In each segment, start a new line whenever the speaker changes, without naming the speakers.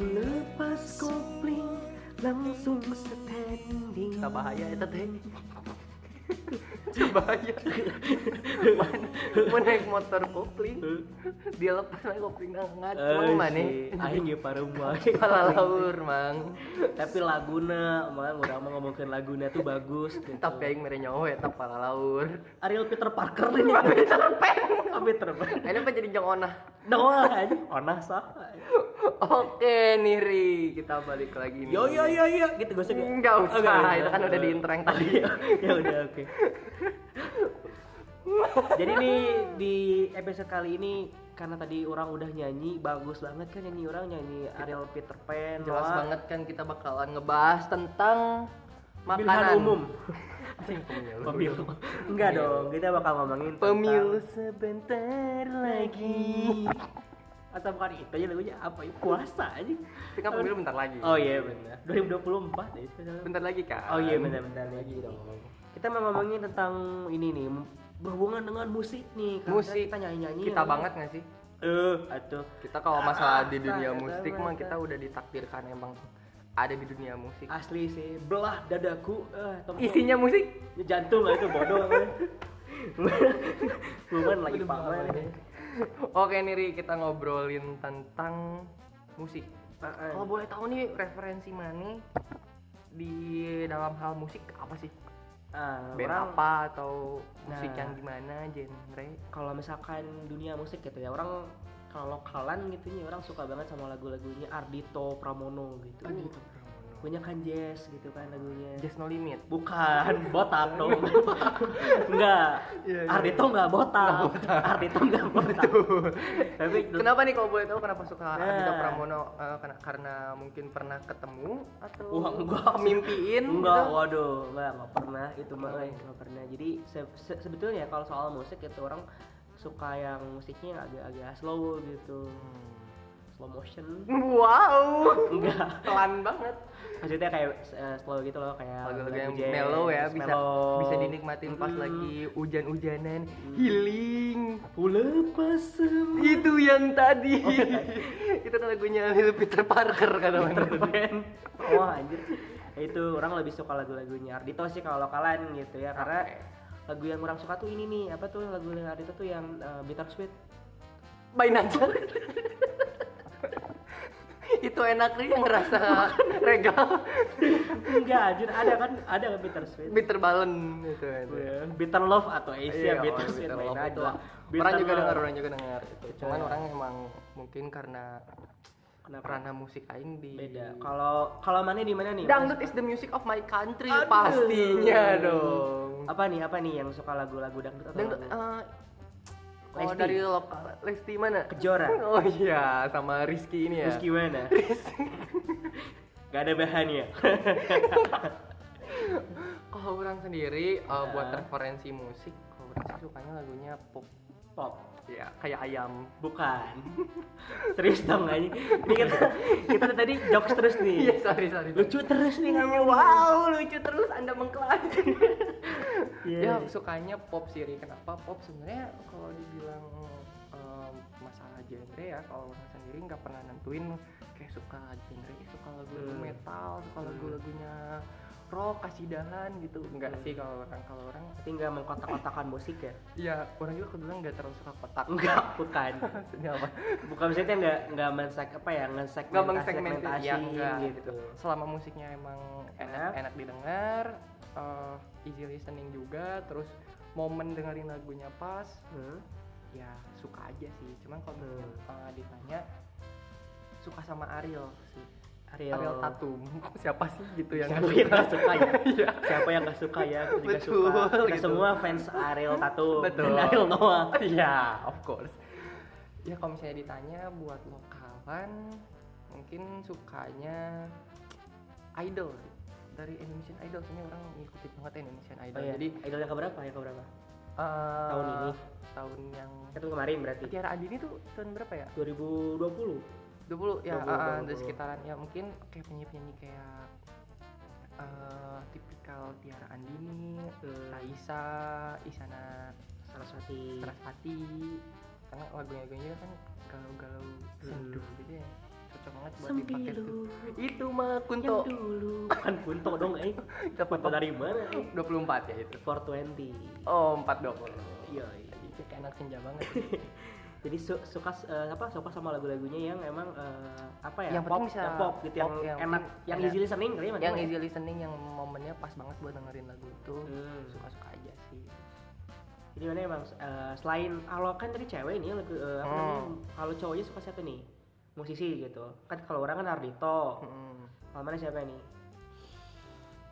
Lepas kopling langsung standing.
Tak bahaya ya, itu teh. Tak bahaya. Mana mana naik motor kopling. Dia lepas naik kopling nah ngacung mana.
Eh, Aing ge pareuh bae.
Kepala laur mang.
Tapi laguna, mah urang mah ngomongkeun laguna tuh bagus gitu.
Tapi aing mere nyawa eta kepala laur.
Ariel Peter Parker ini
Tapi terpen.
Abi terbang.
Ayeuna apa jadi jeung onah.
Doa aja. Onah sah.
Oke Niri, kita balik lagi nih.
Yo yo yo yo gitu gue sih.
Enggak usah, itu kan udah diintereng tadi.
ya udah oke. Jadi nih di episode kali ini karena tadi orang udah nyanyi bagus banget kan nyanyi orang nyanyi Ariel Peter Pan
Jelas
Noah.
banget kan kita bakalan ngebahas tentang makanan
pilihan umum
Anjing, pemilu.
pemilu enggak dong kita bakal ngomongin tentang-
Pemilu sebentar lagi.
atau bukan itu aja lagunya apa ya puasa aja
Tapi kan pemilu bentar lagi.
oh iya benar 2024 ya spesial.
Bentar lagi kan.
Oh iya benar-benar lagi dong. Kita mau ngomongin tentang ini nih berhubungan dengan musik nih. Karena
Musik.
kita nyanyi-nyanyi.
Kita
ya.
banget gak sih?
Eh, atuh.
Kita kalau masalah di
Ah,
dunia
ah,
musik
ah,
mah
ah.
kita udah ditakdirkan emang ada di dunia musik.
Asli sih, belah dadaku. Eh, tembok.
Isinya musik.
Ya, jantung lah itu bodoh. Bukan lagi pamer.
ya. Oke Niri, kita ngobrolin tentang musik.
Heeh.
Kalau boleh tahu nih referensi Mani di dalam hal musik apa sih?
Ah,
Band
orang-
apa atau musik
Nah.
yang gimana genre?
kalau misalkan dunia musik gitu ya orang kalau lokalan gitu ya orang suka banget sama lagu-lagunya Ardito Pramono gitu. Banyak kan jazz gitu kan lagunya.
Just No Limit.
Bukan botak dong. enggak.
Iya, iya.
Ardito enggak botak. Ardito enggak botak. Tapi
Kenapa nih kalau boleh tahu kenapa suka
Nah.
Ardhito Pramono? Eh, karena, karena mungkin pernah ketemu atau
Wah, enggak.
mimpiin
enggak,
gitu?
waduh, enggak, enggak pernah itu mah eh, enggak pernah. Jadi se- se- sebetulnya kalau soal musik itu orang suka yang musiknya agak-agak slow gitu.
Hmm.
Slow motion.
Wow,
Enggak.
pelan banget.
Maksudnya kayak eh, slow gitu loh kayak
Lagu-lagu yang
jazz,
mellow ya bisa
mellow.
bisa dinikmatin
Mm-mm.
pas
Mm.
lagi hujan-hujanan, healing.
Ku lepas semua
Itu yang tadi.
Oh, iya.
itu kan lagunya Little Peter Parker kan namanya.
Wah anjir. Ya itu orang lebih suka lagu-lagunya Ardito sih kalau lokalan gitu ya karena
Oke.
lagu yang orang suka tuh ini nih apa tuh lagu yang Ardito tuh yang eh, Bittersweet
Bain aja. itu enak nih yang ngerasa regal.
enggak anjir ada kan ada kan Bittersweet
Bitter Balon itu. itu.
Bitter Love atau Asia
Iya,
Bitter
orang
Bittersweet
bitter
main
love
aja
itu. Orang juga
Bitter
dengar,
Love.
orang juga dengar. itu. Cuman orang emang mungkin karena
kenapa
ranah musik aing di
beda kalau kalau mana di mana nih
Dangdut is the music of my country
Aduh.
pastinya dong.
apa nih apa nih yang suka lagu-lagu dangdut atau
Dangdut
lagu?
eh, kalau
Lesti.
dari lokal Lesti mana?
Kejora.
Oh iya, sama Rizky ini ya.
terus gimana gak ada ya? bahannya
Kalau orang sendiri eh, buat
Nah.
referensi musik, kalau orang sih sukanya lagunya pop.
pop
Ya, kayak ayam.
Bukan. Serius dong anjing. Ini kita kita tadi jokes terus
Iya,
nih.
sorry, sorry.
Lucu terus nih ngomong.
Wow, lucu terus Anda mengklaim.
Iya.
Ya sukanya pop sih Ri. Kenapa pop sebenarnya kalau dibilang em, masalah genre ya kalau orang sendiri nggak pernah nentuin kayak suka genre ih, suka lagu lagu
Hmm.
metal suka
Hmm.
lagu lagunya rock kasidahan gitu enggak
Hmm.
sih kalau orang kalau orang
Tapi nggak mengkotak-kotakan musik ya?
ya orang juga kebetulan nggak terlalu suka kotak
Enggak, bukan.
maksudnya apa
Bukan maksudnya nggak nggak mensek apa ya
nggak
nggak
mengsegmentasi
segmentasi
ya enggak
gitu.
gitu selama musiknya emang enak
Enak.
enak didengar eh, easy listening juga terus momen dengerin lagunya pas
Hmm.
ya suka aja sih cuman kalau
Hmm.
misalnya eh, ditanya suka sama Ariel sih
Ariel,
Ariel Tatum siapa sih gitu yang
Siapa yang nggak suka ya?
Iya.
Siapa yang nggak suka ya? Aku juga
Betul,
suka. Kita
gitu.
semua fans Ariel Tatum
Betul.
dan Ariel Noah.
Iya, of course ya kalau misalnya ditanya buat lokalan mungkin sukanya idol dari Indonesian Idol sebenarnya orang ngikutin banget ya Indonesian Idol
Oh, iya.
jadi
Jadi idol yang keberapa ya keberapa?
eh,
Tahun ini.
tahun yang
Itu kemarin berarti.
Tiara Andini tuh tahun berapa ya
2020.
20 ya
20,
ah, ah,
20.
dari sekitaran ya mungkin kayak penyanyi-penyanyi kayak eh, tipikal Tiara Andini,
Hmm.
Raisa, Isana
Saraswati.
Sarasvati karena lagunya lagunya kan galau-galau sendu gitu ya cocok banget buat dipakai itu.
Sembilu
Itu mah
yang
Kunto.
dulu Bukan Kunto dong eh
Kita
Kunto dari mana eh?
24 ya itu.
420
Oh, iya, 420.
Yoi.
Itu kayak anak senja banget.
Jadi su- suka eh, apa suka sama lagu-lagunya yang emang eh, apa ya
Yang penting bisa
yang pop gitu yang,
pop, yang
enak
penting
yang
ada-
easy listening kali ya,
yang
Mas?
easy listening yang momennya pas banget buat dengerin lagu itu.
Hmm.
Suka-suka aja sih.
Jadi mana emang eh, selain kalau kan tadi cewek nih lebih eh, apa
Hmm.
namanya kalau cowoknya suka siapa nih musisi gitu kan kalau orang kan Ardito
Hmm.
kalau mana siapa nih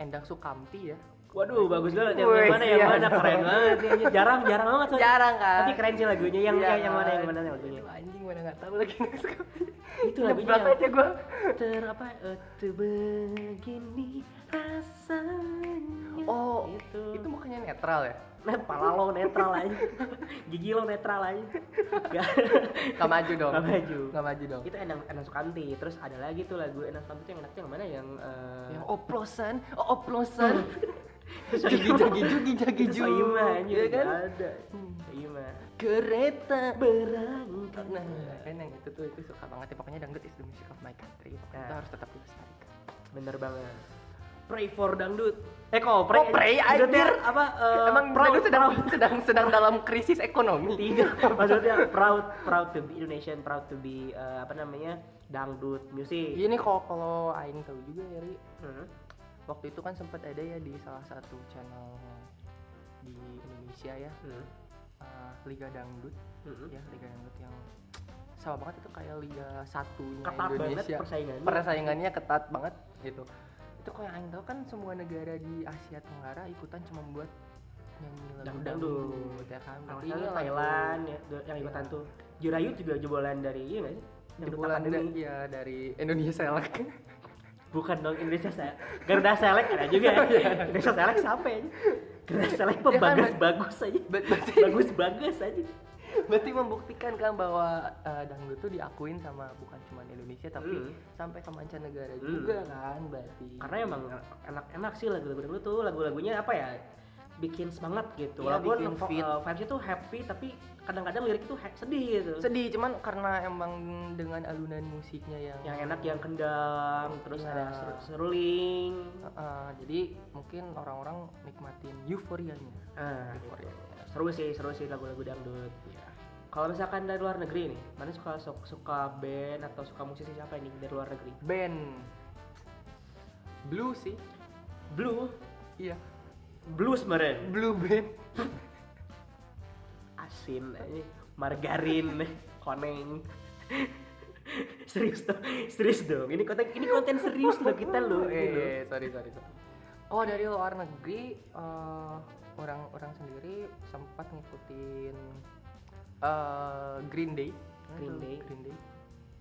Endang Sukamti ya.
Waduh bagus banget ya. yang,
Wih,
yang mana yang
siap.
mana keren banget nih anjir. jarang jarang banget soalnya.
Jarang kan.
tapi keren sih lagunya yang
Iya
yang, yang mana yang
kan.
mana yang lagunya
Aduh, anjing mana enggak tahu lagi Hmm. Endang Sukamti.
itu lagunya
Nyeblak aja gua.
yang ter apa eh, tuh begini rasanya gitu.
Oh,
itu
Itu mukanya netral ya.
nah pala lo netral aja gigi lo netral aja gak
Gak maju dong.
Gak maju.
Gak maju dong.
itu enak enak sukanti terus ada lagi tuh lagu enak sukanti tuh yang enaknya yang mana yang eh,
Yang oplosan, oplosan.
Soimah.
Jugi jugi jugi jugi
Itu
jugi.
Soimah anjir
Iya
kan
kan?
ada
Hmm.
Soimah
Kereta.
berangkat
Nah, kan yang itu tuh itu suka banget ya pokoknya dangdut is the music of my country. Pokoknya itu
Nah.
harus tetap dilestarikan.
bener banget pray for dangdut eh kok pray
Kok pray, anjir?
Dangdutnya apa eh,
Emang
proud,
dangdut sedang sedang sedang dalam krisis ekonomi.
tidak maksudnya proud proud to be Indonesian proud to be eh, apa namanya dangdut music
Ini kalau Iya kalau aing tahu juga ya, Ri.
Hmm.
Waktu itu kan sempat ada ya di salah satu channel di Indonesia ya,
Hmm.
eh, Liga Dangdut.
Hmm.
ya liga dangdut yang sama banget itu kayak liga satunya
ketat banget
Indonesia
persaingannya
persaingannya ketat banget gitu itu kalau yang Aing tahu kan semua negara di Asia Tenggara ikutan cuma buat nyanyi lagu
Dangdut.
dangdut ya kan
Kalau nggak
berarti ini
salah
lagu
Thailand ya, do- yang ikutan
Iya.
tuh. Jurayut juga jebolan dari iya nggak sih? Yang
jebolan
Duta
dari
Pandemi.
ya dari Indonesia Select
Bukan dong Indonesia saya. Garuda Select ada juga ya. Indonesia Select sampai aja. Garuda Select
Iya. kan,
pembagas
Mas?
bagus aja.
Ber- berarti
Bagus bagus aja.
berarti membuktikan kan bahwa eh, dangdut tuh diakuin sama bukan cuma Indonesia tapi
Hmm.
sampai ke mancanegara
Hmm.
juga kan berarti
Karena emang enak-enak sih lagu-lagu dulu tuh lagu-lagunya apa ya? bikin semangat gitu.
Iya,
Walaupun
bikin
vo-
fit.
eh, vibes-nya tuh happy tapi kadang-kadang lirik itu ha- sedih gitu.
sedih cuman karena emang dengan alunan musiknya yang
Yang enak yang kendang, terus
Iya.
ada ser- seruling.
Uh, jadi mungkin orang-orang nikmatin euforianya
Ah,
euforia
seru sih, seru sih lagu-lagu dangdut.
Iya.
Kalau misalkan dari luar negeri nih, mana suka su- suka band atau suka musisi siapa nih dari luar negeri?
band blue sih
Blue,
iya
blues meren,
blue band
asin, eh, margarin, eh, koneng. serius dong, serius dong. Ini konten ini konten serius loh kita loh. gitu. ini loh.
eh sorry sorry sorry oh dari luar negeri uh, orang-orang sendiri sempat ngikutin uh, Green Day
Green Day.
Green Day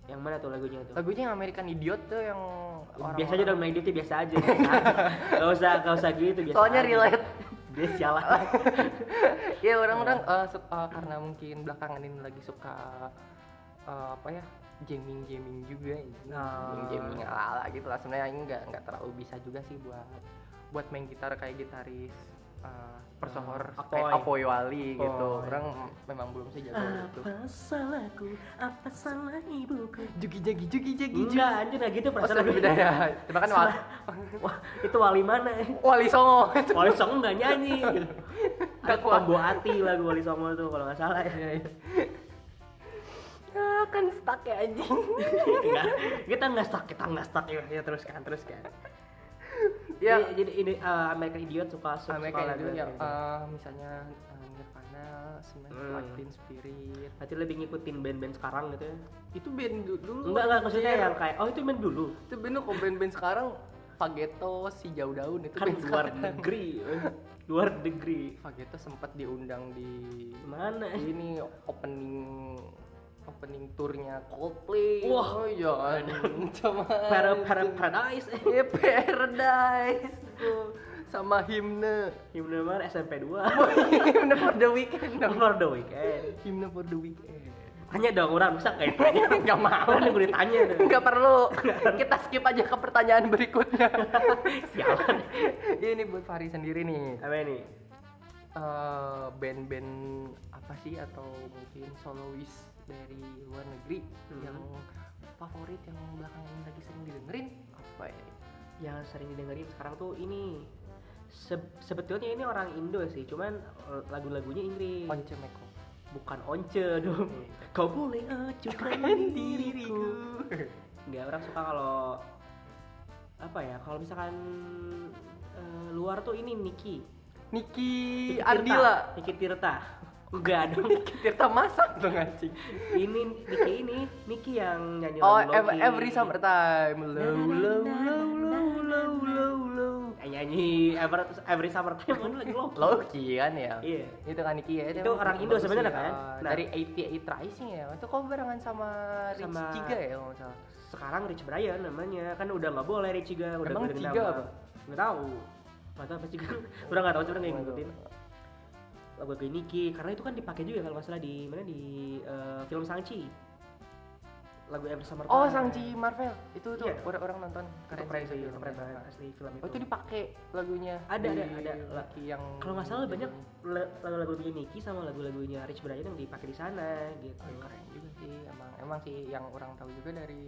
Yang mana tuh lagunya tuh?
lagunya yang American Idiot tuh yang orang
biasa aja dong main dia biasa aja. biasa aja. Gak usah, gak usah gitu biasa.
soalnya
aja.
relate
Dia sialan.
ya orang-orang eh, su- eh, karena mungkin belakangan ini lagi suka eh, apa ya gaming gaming juga ini
Ah.
gaming gaming ala ala gitu lah sebenarnya ini nggak nggak terlalu bisa juga sih buat buat main gitar kayak gitaris eh, persohor
Ah,
kayak
Apoy.
Apoy Wali gitu
Apoy. Ah,
orang memang belum sih jago itu
Apa salahku? Apa salah ibuku?
jugi jagi jugi jagi jugi
Enggak, anjir nggak gitu
Hmm. oh,
perasaan
sorry,
lagunya.
beda ya cuma kan wali,
Wah, itu wali mana?
wali songo
Wali Songo nggak nyanyi.
Nggak
Gak kuat.
kuat. Iya,
Tombo hati lagu Wali Songo tuh kalau nggak salah ya.
Ah, kan stuck ya anjing
Nggak, kita nggak stuck, kita nggak stuck ya. ya teruskan, teruskan.
ya
Jadi, jadi ini eh, American Idiot suka suka
Sama kayak
lagu
dulu ya,
American Idiot.
eh, misalnya eh, Nirvana, Smells
Hmm.
Like Teen Spirit.
Berarti lebih ngikutin band-band sekarang gitu ya?
Itu band du- dulu.
Enggak, enggak maksudnya
anjir.
yang kayak, oh itu band dulu
itu band kok band-band sekarang Fageto, si Jauh Daun itu
Kan
band
luar
sekarang.
negeri eh. Luar negeri
Fageto sempat diundang di
Mana?
ini opening opening turnya Coldplay.
Wah.
oh iya. Sama
Para, para, paradise
Eh, Paradise tuh. sama himne.
Gimana mana SMP 2
himne for the weekend. dong.
For the weekend
Himne for the weekend.
Tanya dong orang, bisa nggak ditanya?
Enggak mau.
Orang yang gue ditanya tuh
Nggak perlu. Kita skip aja ke pertanyaan berikutnya.
Sialan
Ini buat Fahri sendiri nih.
Apa nih?
Eh, Band-band apa sih atau mungkin solois dari luar negeri
Mhm.
yang favorit yang belakangan ini lagi sering didengerin apa ya?
yang sering didengerin sekarang tuh ini Se- sebetulnya ini orang Indo sih cuman eh, lagu-lagunya Inggris
Once Meko.
bukan once dong kau boleh acukan diriku nggak orang suka kalau apa ya kalau misalkan eh, luar tuh ini Niki
Niki
Niki Tirta.
Ardila.
Niki Tirta enggak dong
Tirta masak dong anjing.
ini Niki ini Niki yang nyanyi
Oh,
lagu
ev-
Loki.
every summertime. Low, low, low, low, low, low, low.
Eh, nyanyi every, every summer time mana lagi Loki
Loki kan ya?
iya
Itu kan Niki ya.
Itu
emang
orang Indo
bagus
sebenarnya
ya.
kan? Nah.
Dari 88 Rising ya. Itu kau barengan sama Rich
Sama-
Giga ya kalau nggak salah.
sekarang Rich Brian namanya kan udah nggak boleh Rich Giga udah
Emang
ganti
Giga
nama.
apa?
nggak tahu nggak tahu apa Giga udah nggak tahu sih udah nggak ngikutin lagu lagu Niki karena itu kan dipakai juga kalau nggak salah di mana di eh, film Sangchi lagu Every Summer
Oh,
Time.
Sangji Marvel. Itu tuh
Iya.
orang-orang nonton
itu
keren
keren
sih,
sih
itu
keren banget
keren.
asli film itu,
Oh, itu dipakai lagunya.
Ada,
di
ada, ada.
Lucky yang
kalau nggak
Oh,
salah banyak
iya,
le- lagu-lagunya Niki sama lagu-lagunya Rich Brian yang dipakai di sana gitu
Oh, keren juga sih. Emang emang sih yang orang tahu juga dari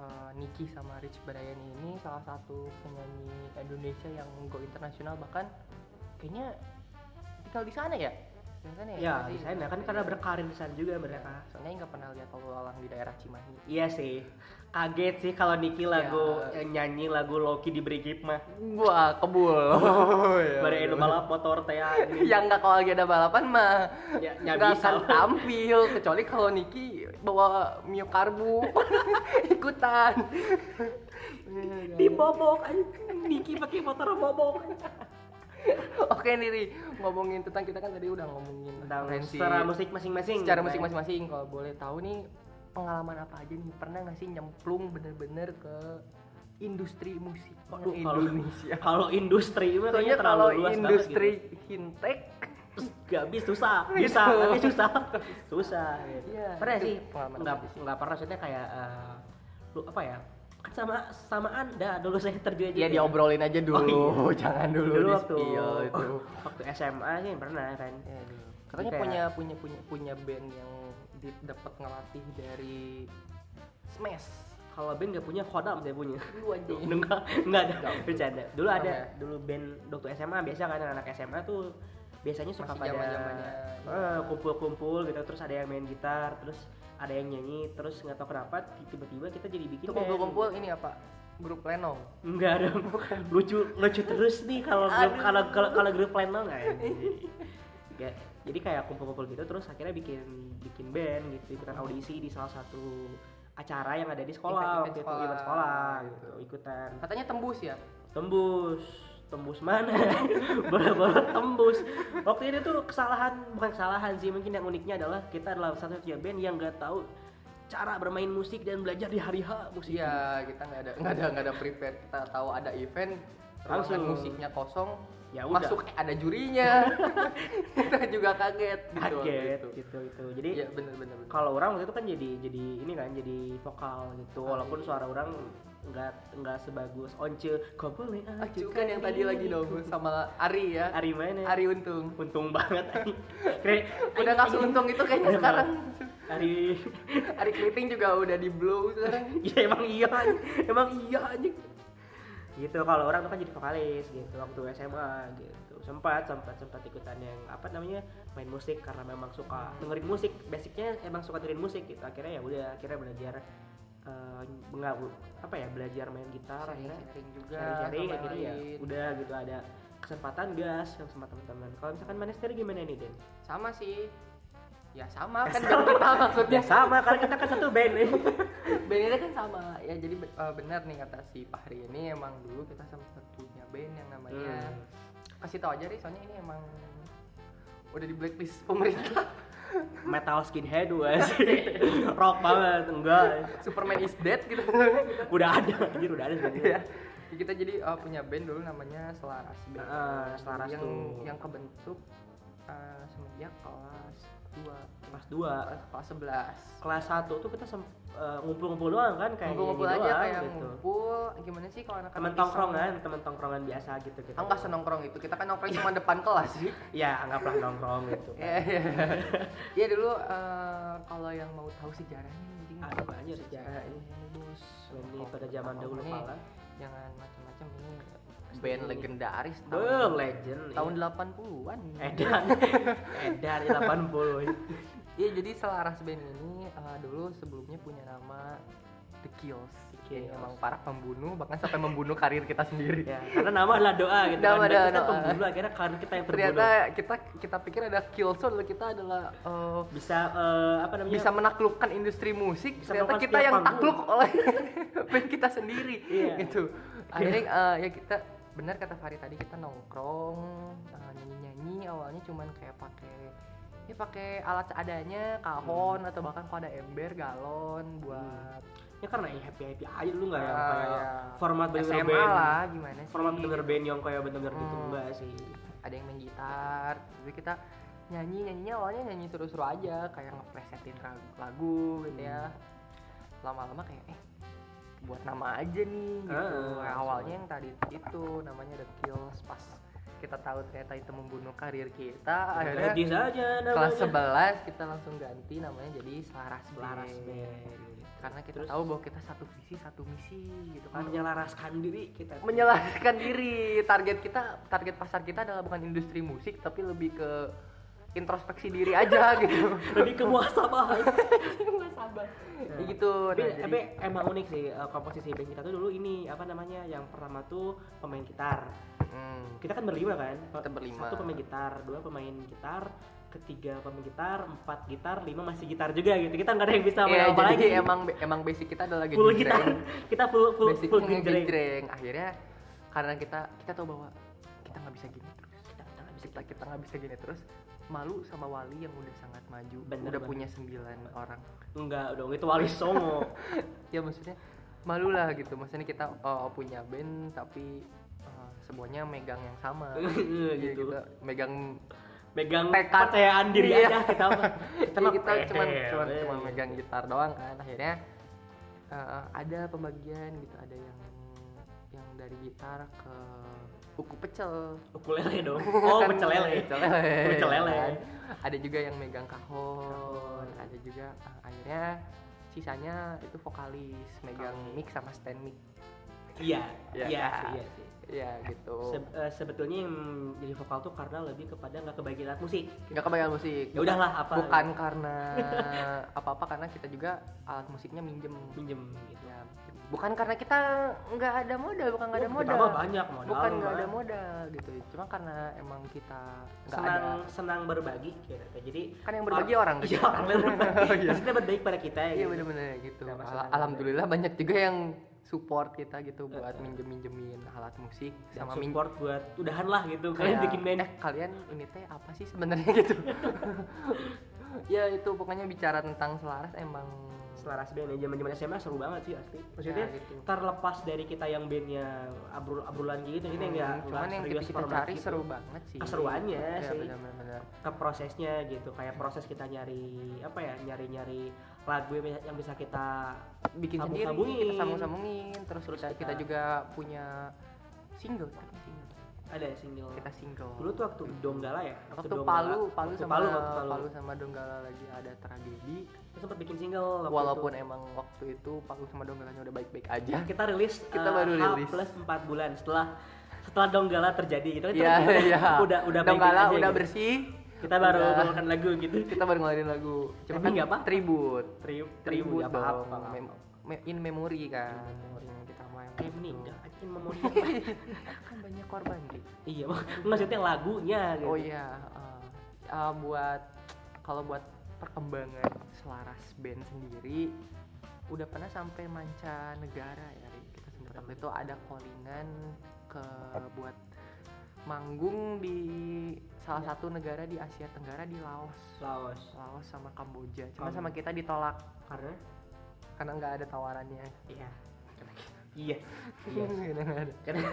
eh, Niki sama Rich Brian ini salah satu penyanyi Indonesia yang go internasional bahkan kayaknya tinggal di sana ya. Di sana ya.
ya
Masih-
di sana kan karena berkarir di sana juga mereka
Soalnya nggak pernah lihat kalau lalang di daerah Cimahi.
Iya sih, kaget sih kalau Niki
Iya.
lagu eh, nyanyi lagu Loki di Brigip mah.
Wah, kebul. Iya,
Baru elu balap motor teh ya. anjing.
yang nggak kalau lagi ada balapan mah
Ya, ya
nggak
bisa.
akan tampil kecuali kalau Niki bawa mio karbu ikutan
Dibobok anjing. Niki pakai motor bobok.
oke Niri ngomongin tentang kita kan tadi udah ngomongin
Tentang
referensi
secara kan? musik masing-masing.
secara musik masing-masing kalau boleh tahu nih pengalaman apa aja nih pernah nggak sih nyemplung bener-bener ke industri musik
Waduh, kalau-
Indonesia
Kalau industri mah kayaknya
soalnya
terlalu
kalau
luas gitu.
industri hintek
gak bisa susah, bisa,
Gitu.
tapi susah, susah. gitu.
Iya,
pernah
itu
sih,
pengalaman
nggak
aku sih.
nggak pernah maksudnya kayak eh, lu apa ya? Kan sama sama anda dulu saya terjun
ya
aja.
diobrolin aja dulu
Oh,
jangan iya. dulu,
dulu
di
waktu
spill itu
waktu SMA sih pernah kan.
Ya, dulu. katanya
Kayak-
punya punya punya punya band yang di- dapat ngelatih dari smash
Kalau band nggak punya kodam saya punya.
lu aja
enggak enggak ada
Enggak.
bercanda dulu
Enggak
ada
ya?
dulu band waktu SMA biasa kan anak SMA tuh biasanya suka
Masih
pada
zaman-zamannya, iya.
eh, kumpul-kumpul gitu terus ada yang main gitar terus ada yang nyanyi terus nggak tahu kenapa tiba-tiba kita jadi bikin
itu
band.
kumpul-kumpul ini apa grup lenong
enggak ada lucu lucu terus nih kalau grup
Aduh.
kalau kalau kalau grup lain dong enggak jadi kayak kumpul-kumpul gitu terus akhirnya bikin bikin band gitu ikutan audisi di salah satu acara yang ada di sekolah
Event- event
waktu itu
sekolah.
event sekolah gitu ikutan
katanya tembus ya
tembus tembus mana bola-bola tembus waktu itu tuh kesalahan bukan kesalahan sih mungkin yang uniknya adalah kita adalah satu-satunya band yang nggak tahu cara bermain musik dan belajar di hari H musik
iya kita nggak ada nggak ada nggak ada prepare kita tahu ada event
Langsung.
langsung musiknya kosong
Ya udah.
masuk eh, ada jurinya kita juga kaget gitu waktu
kaget
itu.
gitu gitu jadi
iya bener bener, bener.
kalau orang waktu itu kan jadi jadi ini kan jadi vokal gitu walaupun suara orang nggak nggak sebagus once kau boleh
Ah, juga yang tadi lagi dong sama Ari ya
Ari mana
Ari Untung
untung banget Keren.
udah nggak seuntung itu kayaknya
Udah
sekarang
Ari
Ari Keriting juga udah di blow sekarang
ya emang iya anjing. emang iya anjing gitu kalau orang tuh kan jadi vokalis gitu waktu SMA gitu sempat sempat sempat ikutan yang apa namanya main musik karena memang suka dengerin musik basicnya emang suka dengerin musik gitu akhirnya ya udah akhirnya belajar eh nggak, apa ya belajar main gitar akhirnya
ya. sharing juga
sharing-sharing
sama yang
akhirnya ya
lain.
udah gitu ada kesempatan gas sama teman-teman kalau misalkan manis sendiri gimana nih Den?
sama sih ya sama kan band kita maksudnya
ya sama karena kita kan satu band
bandnya kan sama ya jadi be- eh, benar nih kata si Fahri ini emang dulu kita sempat punya band yang namanya
Hmm.
kasih tau aja nih soalnya ini emang udah di blacklist pemerintah
metal skinhead gue sih rock banget enggak
Superman is dead gitu
udah ada anjir udah ada sebenarnya
ya kita jadi eh, punya band dulu namanya Selaras
Heeh,
Band
Ah, Selaras
yang
tuh.
yang kebentuk eh, semenjak kelas dua
kelas 2
kelas kelas sebelas
kelas 1 tuh kita sem- eh, ngumpul-ngumpul doang kan kayak
ngumpul-ngumpul
nyanyi
aja
doang
kayak
gitu kan?
ngumpul gimana sih kalau anak-anak
teman
iseng?
tongkrongan teman tongkrongan biasa gitu gitu
Ah, nggak senongkrong itu kita kan nongkrong cuma depan kelas sih
ya anggaplah nongkrong gitu
Iya, iya. Iya dulu eh, kalau yang mau tahu sejarahnya anjing.
ada banyak sejarah ini
ini, Bos.
ini
Kalau
pada
kita
zaman dahulu
ngomongin,
kala
Jangan macam-macam ini
Pasti
band
ini.
legendaris
Beuh,
tahun
legend
tahun
iya.
80-an.
edan edan 80
Iya, jadi selaras band ini eh, dulu sebelumnya punya nama The Kills.
The
Yang
Kills.
emang para pembunuh bahkan sampai membunuh karir kita sendiri.
ya karena nama adalah doa gitu kan
Nama
Dan
adalah
kita
doa.
pembunuh akhirnya karena kita yang terbunuh
Ternyata kita kita pikir ada Killzone kita adalah eh,
bisa eh, apa namanya
bisa menaklukkan industri musik
Bisa
ternyata
melakukan
kita
setiap
yang
panggung.
takluk oleh band kita sendiri
Iya.
gitu akhirnya eh, ya kita benar kata Fahri tadi kita nongkrong nyanyi nyanyi awalnya cuman kayak pakai ya pakai alat
Hmm.
seadanya kahon atau bahkan kalau ada ember galon buat
ya karena happy happy aja lu nggak yang
Ah,
kayak
ya.
format bener
SMA
band
lah gimana sih
format bener band yang kayak bener-bener gitu
Hmm.
enggak sih
ada yang main gitar jadi kita nyanyi nyanyinya awalnya nyanyi seru-seru aja kayak ngeplesetin ra- lagu gitu ya
Hmm.
lama-lama kayak eh buat nama aja nih gitu
Heeh,
Nah,
Ah, langsung.
awalnya yang tadi itu namanya The Kills pas kita tahu ternyata itu membunuh karir kita akhirnya
Gadis aja
kelas
namanya
11 kita langsung ganti namanya jadi Selaras
Laras
Band.
band gitu.
karena kita
Terus- Iya,
tahu bahwa kita satu visi satu misi gitu kan
menyelaraskan diri kita
menyelaraskan diri target kita target pasar kita adalah bukan industri musik tapi lebih ke introspeksi diri aja gitu
lebih ke muasabah
sabar ya
Ya.
gitu
tapi,
nah, jadi,
tapi emang unik sih eh, komposisi band kita tuh dulu ini apa namanya yang pertama tuh pemain gitar
hmm,
kita kan berlima kan Pe-
Kita berlima.
satu pemain gitar dua pemain gitar ketiga pemain gitar empat gitar lima masih gitar juga gitu kita nggak ada yang bisa main
ya,
apa
jadi
lagi
emang emang basic kita adalah
full
genjreng.
gitar kita full full
basicnya
full genjreng kita
genjreng. akhirnya karena kita kita tahu bahwa kita nggak bisa gini terus
kita nggak bisa
kita kita nggak bisa gini terus malu sama wali yang udah sangat maju
Bener
udah
banget.
punya sembilan orang
enggak dong itu wali songo
ya maksudnya malu lah gitu maksudnya kita uh, punya band tapi uh, semuanya megang yang sama
Iya,
Iya,
gitu.
kita megang
megang
Tekad.
kepercayaan diri
Iya.
aja kita mah.
kita mah kita
pede,
cuman cuman
weh.
cuman megang gitar doang kan akhirnya uh, ada pembagian gitu ada yang yang dari gitar ke buku pecel
ukulele dong oh
Kan,
pecel lele
pecel lele,
Pecel lele.
kan. ada juga yang megang kahon ada juga uh, akhirnya sisanya itu vokalis megang
Vokalis.
mic sama stand mic
iya
Iya.
iya sih, iya sih
ya gitu
Se- eh, sebetulnya yang jadi vokal tuh karena lebih kepada nggak kebagian alat musik
nggak kebayang musik
ya udahlah apa
bukan karena apa-apa karena kita juga alat musiknya minjem
pinjem gitu
ya bukan karena kita nggak ada modal bukan nggak ada
Oh,
modal
kita mah banyak modal
bukan nggak
mah.
ada modal gitu cuma karena emang kita nggak
senang
ada
senang berbagi gitu jadi
kan yang berbagi orang gitu
iya orang lain berbagi
Iya.
maksudnya berbaik pada kita ya
iya
gitu.
bener-bener gitu
Nggak masalah.
Al- alhamdulillah banyak juga yang support kita gitu
Eh,
buat
eh.
minjem minjemin alat musik
Dan
sama minjem
support buat udahan lah gitu kalian
Kayak,
bikin band
eh, kalian ini teh apa sih sebenarnya gitu ya itu pokoknya bicara tentang selaras emang
selaras band ya zaman zaman SMA seru banget sih asli maksudnya
Ya, gitu.
terlepas dari kita yang bandnya abrul abrulan gitu kita
Hmm,
nggak
cuman
nggak
yang kita,
serius
kita
format
cari
gitu.
seru banget sih
Keseruannya
ya,
sih. Iya,
benar-benar
ke prosesnya gitu kayak proses kita nyari apa ya nyari nyari lagu yang bisa- yang bisa kita
bikin
Sambung-
sendiri
sambungin.
kita sambung-sambungin terus,
Terus
kita,
kita-
kita juga punya single kita punya single
ada ya single
kita single
dulu tuh waktu Donggala ya
waktu
Donggala.
Palu Palu
Waktu
sama
Palu,
Palu,
waktu Palu.
sama Donggala lagi ada tragedi
kita sempat bikin single waktu
walaupun
itu.
emang waktu itu Palu sama Donggalanya udah baik-baik aja
kita rilis
Kita
eh,
baru
H
rilis.
plus 4 bulan setelah setelah Donggala terjadi gitu kan
Iya,
udah,
iya.
udah udah baik-baik
Donggala
aja
udah
gitu.
bersih.
kita baru
udah-
mengeluarkan lagu gitu
kita baru ngeluarin lagu. Cuma
Tapi
kan
nggak apa-apa.
tribut.
Tri-
Tribut
ya,
dong.
maaf, maaf.
Mem- me- in memory kan.
In memory.
Yang kita main.
kayak
gitu.
meninggal anjing memori
kan banyak korban, Dik.
iya mak- maksudnya lagunya gitu
Oh iya, eh, eh, buat kalau buat perkembangan selaras band sendiri udah pernah sampai manca negara ya Ri. kita sempat waktu itu ada callingan ke buat manggung di salah satu negara di Asia Tenggara di Laos
Laos
Laos sama Kamboja cuma
Kam-
sama kita ditolak
karena
karena nggak ada tawarannya
iya iya
Iya, udah nggak ada.
karena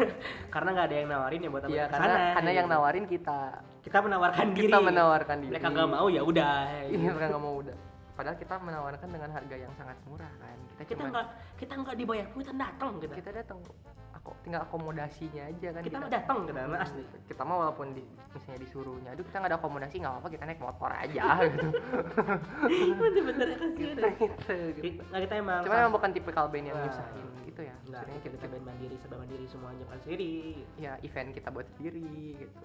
karena nggak ada yang nawarin ya buat apa
Iya,
ke
karena
sana,
karena
gitu.
yang nawarin kita.
kita menawarkan diri
Kita menawarkan diri.
Iya. mereka nggak mau ya udah
Iya, mereka nggak mau udah. Padahal kita menawarkan dengan harga yang sangat murah kan. Kita,
kita
cuma
nggak kita nggak dibayar kita datang kita
kita datang aku tinggal akomodasinya aja kan.
kita mah datang kita mah
Hmm,
asli
Kita mah walaupun di, misalnya disuruhnya, aduh kita nggak ada akomodasi nggak apa-apa kita naik motor aja gitu.
bener-bener kasihan
gitu, gitu, gitu.
Nah, kita emang
Cuman emang bukan tipikal band yang
Nah.
nyusahin gitu ya.
nggak
Sebenarnya
kita
kita
band mandiri serba mandiri semuanya kan sendiri
ya event kita buat sendiri gitu.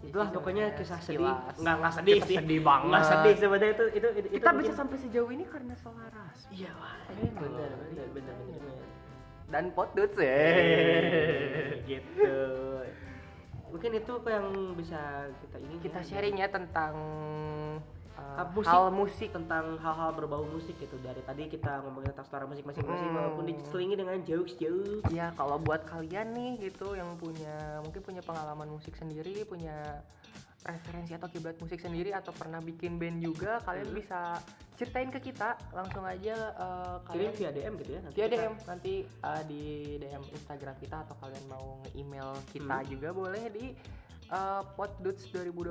itulah pokoknya kisah sedih
Sekilas.
nggak nggak sedih
Kita
sih
sedih
nggak
banget.
sedih sebenarnya itu itu itu
Kita
itu
bisa
mungkin-
sampai sejauh ini karena selaras.
iya wah
Iya,
bener
loh.
bener bener bener, bener.
Dan ya. potut sih.
gitu mungkin itu yang bisa kita ini
Kita sharing ya tentang uh,
Ah, musik.
hal musik.
tentang hal-hal berbau musik gitu dari tadi kita ngomongin tentang selera musik masing-masing
Hmm.
walaupun diselingi dengan jokes-jokes
Ya kalau buat kalian nih gitu yang punya mungkin punya pengalaman musik sendiri, punya referensi atau kiblat musik sendiri atau pernah bikin band juga, kalian
Hmm.
bisa ceritain ke kita langsung aja uh,
kirim
kalian
via DM gitu ya nanti
via
kita-
DM Iya, nanti uh, di DM Instagram kita atau kalian mau email kita juga boleh di uh,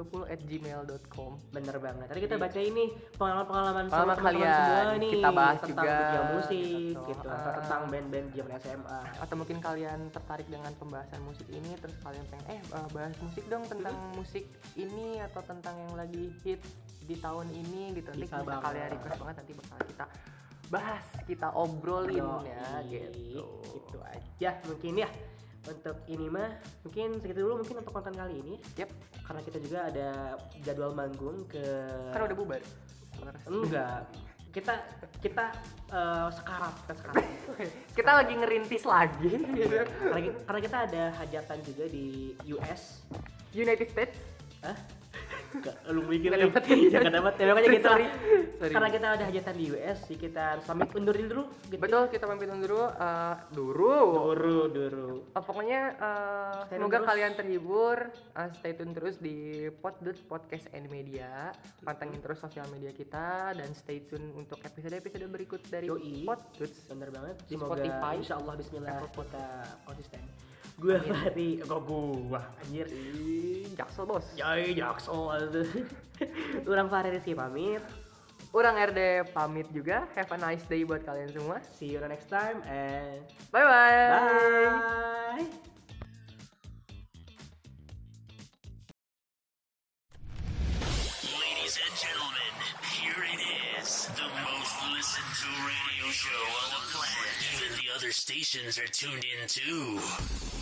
potdudes2020@gmail.com.
bener banget tadi kita baca ini pengalaman-pengalaman
Iya. Pengalaman
teman-teman
kalian.
semua nih
Kita bahas
tentang
juga.
dunia musik
Betul.
gitu atau
Ah.
tentang band-band zaman SMA
atau mungkin kalian tertarik dengan pembahasan musik ini terus kalian pengen eh eh, bahas musik dong tentang
Hmm.
musik ini atau tentang yang lagi hit di tahun ini gitu nanti
Bisa
bisa,
banget.
kalian request banget nanti bakal kita bahas kita obrolin
Yoi,
ya gitu
gitu aja mungkin ya untuk ini mah mungkin segitu dulu mungkin untuk konten kali ini
Yep.
karena kita juga ada jadwal manggung ke Nah.
kan udah bubar
enggak kita kita eh, sekarat kita sekarat
kita lagi ngerintis lagi gitu.
karena, karena kita ada hajatan juga di US
United States
Hah? Gak, lu mikir nih.
Gak
Gak
dapet.
dapet. Ya, makanya kita
Sorry, sorry.
karena kita ada hajatan di US, sih kita harus pamit undur diri dulu. Gitu.
betul kita pamit dulu eh, dulu
Duru, duru.
Oh, pokoknya eh,
Stay tune
semoga
terus.
kalian terhibur. Eh, stay tune terus di Poddudes Podcast and Media. Pantengin terus sosial media kita dan stay tune untuk episode-episode berikut dari
Yoi.
Poddudes.
Bener banget.
Di
Semoga
Spotify.
Insya Allah Bismillah
Apple
kita konsisten. Gue Fahri, kok gua anjir.
Jaksel Bos.
Jai jaksel. Orang Fahri Rizky pamit.
Urang RD pamit juga. Have a nice day buat kalian semua.
See you next time and
Bye-bye.
bye.
Ladies and gentlemen, here it is. The most listened to radio show on the planet. Even the other stations are tuned in too.